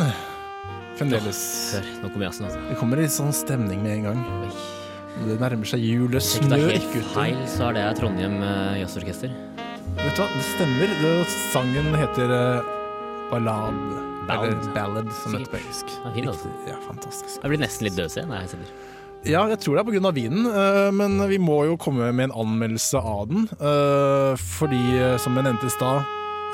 Speaker 2: Fremdeles.
Speaker 3: Før. Nå kommer jazzen, altså.
Speaker 2: Det kommer litt sånn stemning med en gang. Det nærmer seg jul, det
Speaker 3: Hvis det
Speaker 2: snør
Speaker 3: er
Speaker 2: ikke
Speaker 3: helt
Speaker 2: ute.
Speaker 3: feil, så er det Trondheim eh, jazzorkester.
Speaker 2: Vet du hva, det stemmer. Det- Sangen heter eh, Ballad.
Speaker 3: Ballad.
Speaker 2: Eller Ballad, som heter på engelsk.
Speaker 3: Den er fin, altså.
Speaker 2: Riktig. Ja, fantastisk.
Speaker 3: Jeg blir nesten litt døsig når jeg sitter.
Speaker 2: Ja, jeg tror det er pga. vinen, eh, men vi må jo komme med en anmeldelse av den. eh, Fordi, eh, som jeg nevnte i stad,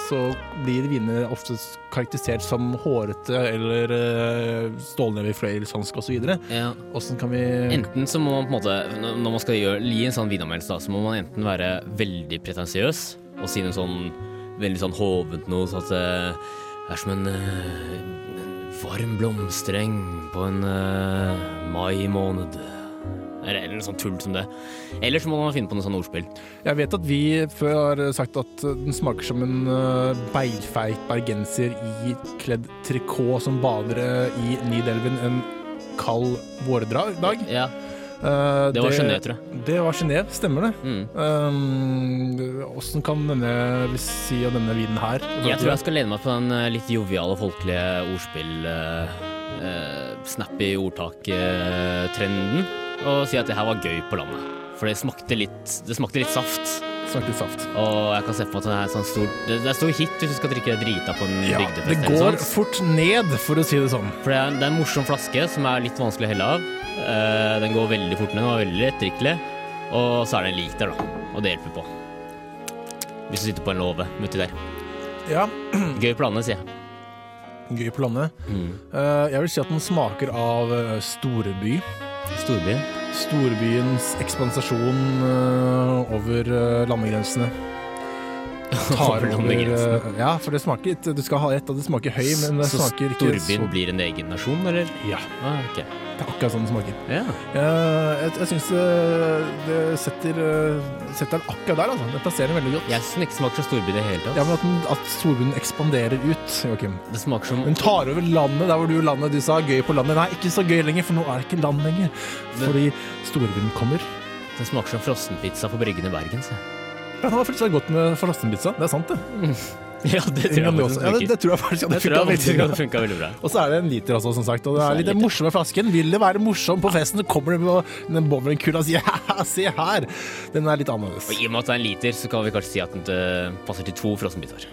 Speaker 2: så blir viner ofte karakterisert som hårete eller eh, stålneve i fløyelshanske osv.
Speaker 3: Ja.
Speaker 2: Åssen kan vi
Speaker 3: Enten så må man på en måte, når- når man skal gjøre, gi en sånn vinanmeldelse, da, så må man enten være veldig pretensiøs og si noe sånn veldig sånn hovent noe, sånn at det er som en, eh, en varm blomstereng på en eh, mai måned. Eller, eller noe sånt tull som det. Eller så må man finne på noe sånn ordspill.
Speaker 2: Jeg vet at vi før har sagt at den smaker som en eh, beilfeit bergenser i kledd trikot som bader i Nidelven en kald vårdag.
Speaker 3: Ja,
Speaker 2: Eh,
Speaker 3: Det var Genéve, tror jeg.
Speaker 2: Det var Genéve, stemmer det. Eh,
Speaker 3: Mm.
Speaker 2: Åssen kan denne vi si av denne vinen her? sånn
Speaker 3: Jeg tror jeg skal lene meg på den eh, litt joviale, folkelige ordspill eh, eh, Snappy ordtak-trenden og si at det her var gøy på landet. For det smakte litt, det smakte litt saft.
Speaker 2: Smakte saft.
Speaker 3: Og jeg kan se for meg at det er, sånn stor, det, det er stor hit hvis du skal drikke drita på en
Speaker 2: Ja,
Speaker 3: bygdefest.
Speaker 2: det
Speaker 3: eller
Speaker 2: går
Speaker 3: sånt.
Speaker 2: fort ned, for å si det sånn.
Speaker 3: For det er, det er en morsom flaske som er litt vanskelig å helle av. Eh, Den går veldig fort ned, den var veldig lettdrikkelig. Og så er det en lik der, da. Og det hjelper på. Hvis du sitter på en låve uti der.
Speaker 2: Ja,
Speaker 3: Gøy plane, sier jeg.
Speaker 2: gøy på landet. Eh, jeg vil si at den smaker av eh, storby.
Speaker 3: Storby.
Speaker 2: Storbyens ekspansasjon eh, over eh, landegrensene. Tar
Speaker 3: Over landegrensene.
Speaker 2: eh, ja, for det smaker ikke Du skal ha ett, og det smaker høy, men det
Speaker 3: Så
Speaker 2: smaker ikke
Speaker 3: storbyen blir en egen nasjon, eller?
Speaker 2: så Ja,
Speaker 3: Ah, ok.
Speaker 2: det er akkurat sånn det smaker.
Speaker 3: Ja.
Speaker 2: Eh, jeg jeg syns det setter, eh, setter den akkurat der, altså. Det plasserer den veldig godt.
Speaker 3: Jeg syns den ikke smaker så storby i det hele tatt.
Speaker 2: Ja, men at, den, at storbyen ekspanderer ut, Joakim.
Speaker 3: Det smaker som
Speaker 2: Hun tar over landet der hvor du landet du sa gøy på landet. Nei, ikke så gøy lenger, for nå er det ikke land lenger. Fordi storbyen kommer.
Speaker 3: Den smaker som frossenpizza på Bryggen i Bergen. Så.
Speaker 2: Ja, det var faktisk veldig godt med frossenpizza. Det er sant, det.
Speaker 3: Ja, det
Speaker 2: det,
Speaker 3: tror jeg faktisk
Speaker 2: ja, det,
Speaker 3: funker.
Speaker 2: det tror jeg faktisk
Speaker 3: Det
Speaker 2: hadde
Speaker 3: tror
Speaker 2: funka veldig
Speaker 3: jeg faktisk
Speaker 2: bra.
Speaker 3: hadde funka veldig bra.
Speaker 2: Og så er det en liter også, som sagt. Og det
Speaker 3: Så er
Speaker 2: er
Speaker 3: det
Speaker 2: litt den
Speaker 3: liter.
Speaker 2: morsomme flasken. Vil det være morsom på festen, kommer det med den bowlingkula og sier ja, se her. Den er litt annerledes.
Speaker 3: Og I og med at det er en liter, så kan vi kanskje si at den eh, passer til to frossenbiter.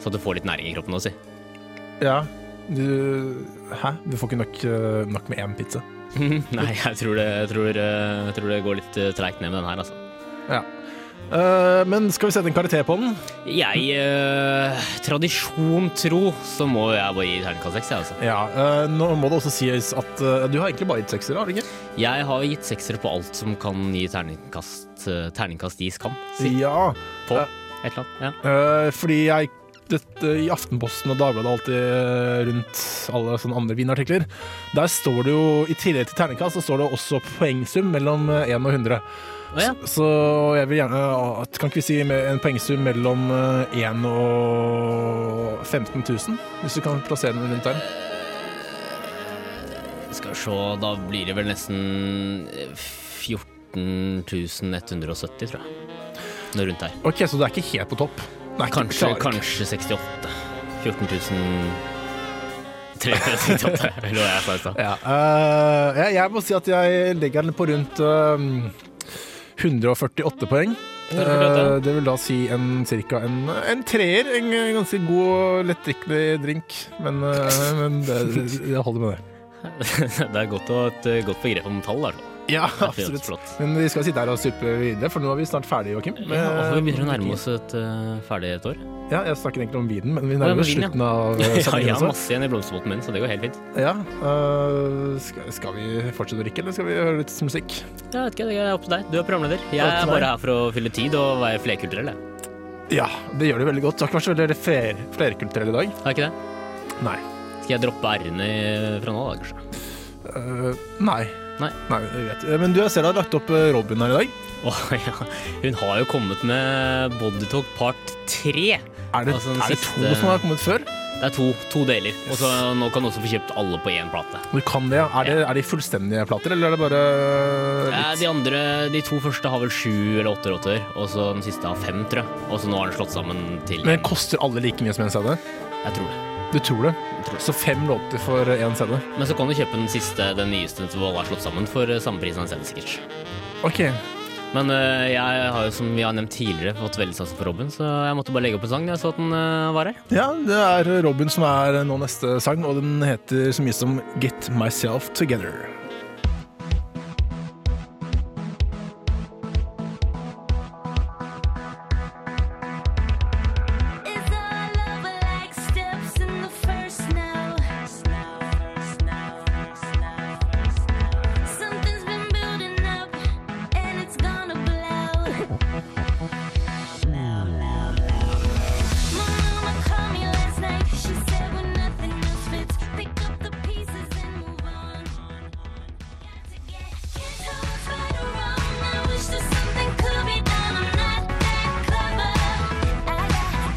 Speaker 3: Så at du får litt næring i kroppen også. si.
Speaker 2: Ja. Du Hæ? Du får ikke nok, eh, nok med én pizza.
Speaker 3: Nei, jeg tror det, jeg tror, eh, jeg tror det går litt eh, treigt ned med den her, altså.
Speaker 2: Ja. Eh, men skal vi sette en karakter på den?
Speaker 3: Jeg eh, Tradisjon tro, så må jeg bare gi terningkast seks, jeg, altså.
Speaker 2: Ja. eh, nå må det også sies at eh, du har egentlig bare gitt seksere, har du ikke?
Speaker 3: Jeg har gitt seksere på alt som kan gi terningkast eh, Terningkast gis kan. Si.
Speaker 2: Ja,
Speaker 3: På et eller annet. Ja.
Speaker 2: øh, fordi jeg dette, I Aftenposten og Dagbladet alltid øh, rundt alle sånne andre vinartikler, der står det jo i tillegg til terningkast, så står det også poengsum mellom øh, 1 og 100.
Speaker 3: Å, ja.
Speaker 2: Så jeg vil gjerne øh, at- Kan ikke vi si med en poengsum mellom øh, 1 og 15 000? Hvis du kan plassere den rundt der.
Speaker 3: Skal vi se, da blir det vel nesten eh, 14.170, tror jeg. Noe rundt der.
Speaker 2: OK, så du er ikke helt på topp? Nei, ikke-
Speaker 3: Kanskje,
Speaker 2: klarer ikke.
Speaker 3: kanskje 68. 14.368, eller hva jeg sa i stad.
Speaker 2: Ja, øh, jeg, jeg må si at jeg legger den på rundt øh, 148 poeng.
Speaker 3: 148.
Speaker 2: Eh, det vil da si en, cirka en, en treer. En ganske god og lettdrikkelig drink. Men, eh, men det, det holder med det.
Speaker 3: Det er godt å ha et eh, godt begrep om tall, i hvert fall.
Speaker 2: Ja,
Speaker 3: Det er
Speaker 2: absolutt.
Speaker 3: flott.
Speaker 2: Men vi skal sitte her og suppe videre, for nå er vi snart ferdig, Joakim.
Speaker 3: Ja, og vi begynner å nærme oss et eh, ferdig et år.
Speaker 2: Ja, jeg snakker egentlig om vinen, men vi
Speaker 3: Å, ja,
Speaker 2: nærmer
Speaker 3: men
Speaker 2: oss
Speaker 3: vin, ja.
Speaker 2: slutten av eh,
Speaker 3: Ja,
Speaker 2: sendingen
Speaker 3: jeg har
Speaker 2: også.
Speaker 3: masse igjen i blomsterbåten min, så det går helt fint.
Speaker 2: Ja, eh, skal, skal vi fortsette å drikke, eller skal vi høre litt musikk?
Speaker 3: Jeg vet ikke, det er opp til deg. Du er programleder.
Speaker 2: Opp til
Speaker 3: Jeg er
Speaker 2: meg.
Speaker 3: bare her for å fylle tid og være flerkulturell, jeg.
Speaker 2: Ja, det gjør det veldig godt. Du har ikke vært så veldig fler, flerkulturell i dag.
Speaker 3: Er jeg ikke det?
Speaker 2: Nei.
Speaker 3: Skal jeg droppe r-ene i- fra nå, da, kanskje?
Speaker 2: Eh, nei.
Speaker 3: Nei.
Speaker 2: jeg vet. Eh, Men du, jeg ser du har lagt opp eh, Robin her i dag.
Speaker 3: Åh, ja. Hun har jo kommet med Bodytalk part tre.
Speaker 2: Er det,
Speaker 3: Altså, den
Speaker 2: er det
Speaker 3: siste-
Speaker 2: to som har kommet før?
Speaker 3: Det er to, to deler. Og så nå kan du også få kjøpt alle på én plate.
Speaker 2: Du kan det, ja. Er det, er de fullstendige plater, eller er det bare
Speaker 3: Eh,
Speaker 2: litt
Speaker 3: De andre, de to første har vel sju eller åtte låter, og så den siste har fem, tror jeg. Og så nå har den slått sammen til
Speaker 2: Men koster alle like mye som én CD?
Speaker 3: Jeg tror det.
Speaker 2: Du tror det?
Speaker 3: tror det.
Speaker 2: Så fem låter for én CD?
Speaker 3: Men så kan du kjøpe den siste, den nyeste som alle har slått sammen, for eh, samme pris som den selv, sikkert.
Speaker 2: OK.
Speaker 3: Men eh, jeg har jo, som vi har nevnt tidligere, fått veldig sansen for Robin, så jeg måtte bare legge opp en sang da jeg så at den eh, var her.
Speaker 2: Ja, det er Robin som er nå neste sang, og den heter så mye som Get Myself Together.
Speaker 8: Is our love like steps in the first snow? Something's been building up and it's gonna blow. My mama called me last night. She said when nothing else fits, pick up the pieces and move on. I wish that something could be done. I'm not that clever. I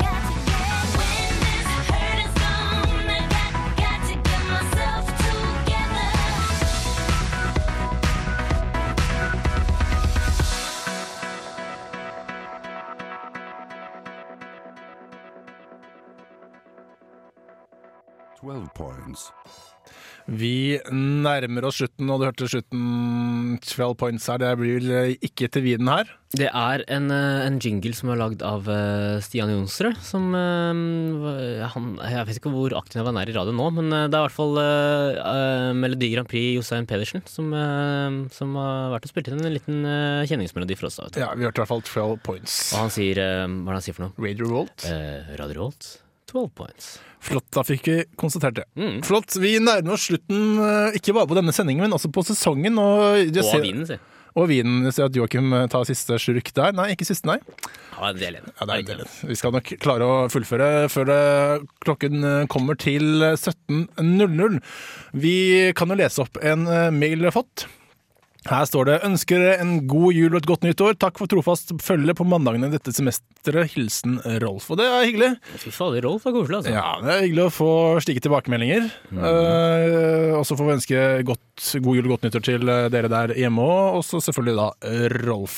Speaker 8: got to get when this hurt is gone. I got to get myself together.
Speaker 2: Vi nærmer oss slutten, og du hørte slutten 12 points her. Det blir vel ikke til viden her.
Speaker 3: Det er en, eh, en jingle som er lagd av eh, Stian Jonsrud. Som eh, han, Jeg vet ikke hvor aktiv han er i radio nå, men eh, det er i hvert fall eh, eh, Melodi Grand Prix Jostein Pedersen som, eh, som har vært og spilt inn en liten eh, kjenningsmelodi for oss. da, vet du.
Speaker 2: Ja, Vi hørte i hvert fall 12 points.
Speaker 3: Og han sier eh, Hva er det han sier for noe?
Speaker 2: Radio Revolt.
Speaker 3: Eh, Radio Rolt, 12 points.
Speaker 2: Flott, da fikk vi konstatert det.
Speaker 3: Mm.
Speaker 2: Flott. Vi nærmer oss slutten, eh, ikke bare på denne sendingen, men også på sesongen. Og, jeg
Speaker 3: Og
Speaker 2: ser-
Speaker 3: av vinen, sier
Speaker 2: Og vinen. Jeg ser at Joakim eh, tar siste slurk der. Nei, ikke siste, nei.
Speaker 3: Ja, det er ledig.
Speaker 2: Ja, det er en del. Vi skal nok klare å fullføre før det, klokken eh, kommer til eh, 17.00. Vi kan jo lese opp en eh, mail vi har fått. Her står det 'Ønsker dere en god jul og et godt nytt år. Takk for trofast følge på mandagene dette semesteret. Hilsen Rolf.' Og det er hyggelig.
Speaker 3: Fy fader, Rolf er koselig, altså.
Speaker 2: Ja, Mm. Det er hyggelig å få slike tilbakemeldinger. Eh, og så får vi ønske godt, god jul og godt nyttår til eh, dere der hjemme òg, og så selvfølgelig da eh, Rolf.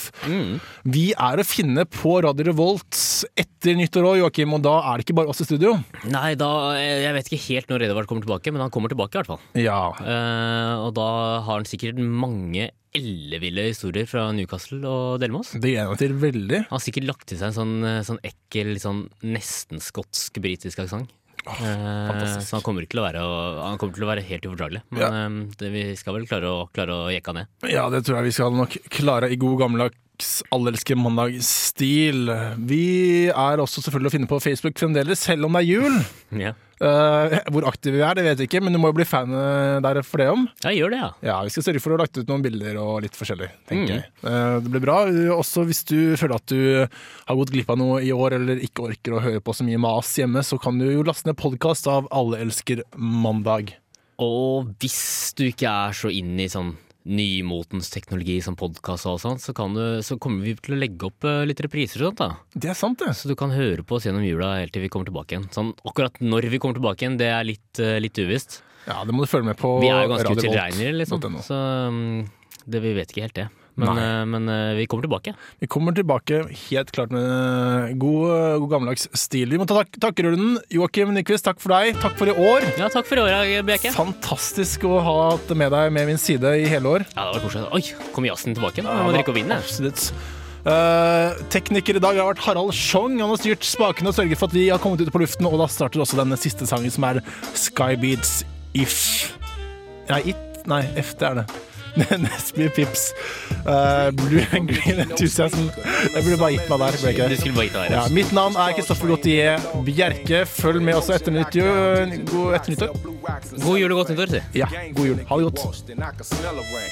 Speaker 2: Vi er å finne på Radio Revolt etter nyttår òg, Joakim, og da er det ikke bare oss i studio.
Speaker 3: Nei, da, eh, jeg vet ikke helt når Edvard kommer tilbake, men han kommer tilbake i hvert fall.
Speaker 2: Ja,
Speaker 3: Eh, og da har han sikkert mange elleville historier fra Newcastle å dele med oss.
Speaker 2: Det gleder jeg meg til veldig.
Speaker 3: Han har sikkert lagt til seg en sånn, eh, sånn ekkel, litt sånn nesten skotsk-britisk aksent. Eh,
Speaker 2: fantastisk.
Speaker 3: så han kommer, ikke til å være, å- han kommer til å være helt ufordragelig. Men
Speaker 2: Ja.
Speaker 3: eh, det, vi skal vel klare å, klare å jekke han ned.
Speaker 2: Ja, det tror jeg vi skal nok klare i god gammeldags allelske mandagsstil. Vi er også selvfølgelig å finne på Facebook fremdeles, selv om det er jul.
Speaker 3: Ja.
Speaker 2: Eh, hvor aktive vi er, det vet jeg ikke, men du må jo bli fan eh, der for det om.
Speaker 3: ja, gjør det, ja.
Speaker 2: Ja, vi skal sørge for å ha lagt ut noen bilder og litt forskjellig, tenker
Speaker 3: Mm.
Speaker 2: jeg. Eh, Det blir bra. Også hvis du føler at du har gått glipp av noe i år, eller ikke orker å høre på så mye mas hjemme, så kan du jo laste ned podkast av Alle elsker mandag.
Speaker 3: Og hvis du ikke er så inn i sånn nymotens teknologi som podkast og sånn, så, kan du- så kommer vi til å legge opp eh, litt repriser og sånt, da.
Speaker 2: Det er sant, det.
Speaker 3: Så du kan høre på oss gjennom jula helt til vi kommer tilbake igjen. Sånn, akkurat når vi kommer tilbake igjen, det er litt, eh, litt uvisst.
Speaker 2: Ja, Det må du følge med på.
Speaker 3: Vi er jo ganske
Speaker 2: Radio Volt.
Speaker 3: utilregnelige, liksom.
Speaker 2: .no.
Speaker 3: Så mm, det, vi vet ikke helt det. Men,
Speaker 2: Nei.
Speaker 3: eh, men eh, vi kommer tilbake.
Speaker 2: Vi kommer tilbake helt klart med god, god gammeldags stil. Vi må ta tak takkerunden. Joakim Nyquist, takk for deg. Takk for i år.
Speaker 3: Ja, takk for i år, Bjeke. Ja,
Speaker 2: Fantastisk å ha hatt med deg med min side i hele år.
Speaker 3: det var koselig. Oi, kom jazzen tilbake? Nå må drikke opp vinen, jeg.
Speaker 2: Absolutt. Eh, tekniker i dag har vært Harald Schjong. Han har styrt spakene og sørget for at vi har kommet ut på luften. Og da starter også denne siste sangen, som er Skybeats If. Nei, It? Nei, F, det er det. Nesby Pips. Eh, Blue and Green Enthusiasm. Jeg burde bare gitt meg der. Ble jeg ikke
Speaker 3: Du
Speaker 2: det?
Speaker 3: skulle bare gitt deg
Speaker 2: Ja,
Speaker 3: her.
Speaker 2: mitt navn er Kristoffer Gautier Bjerke. Følg med også etter nytt jul. God etter nyttår.
Speaker 3: God jul og godt nyttår, si.
Speaker 2: Ja, god jul. Ha det godt.
Speaker 10: And I can smell a rain.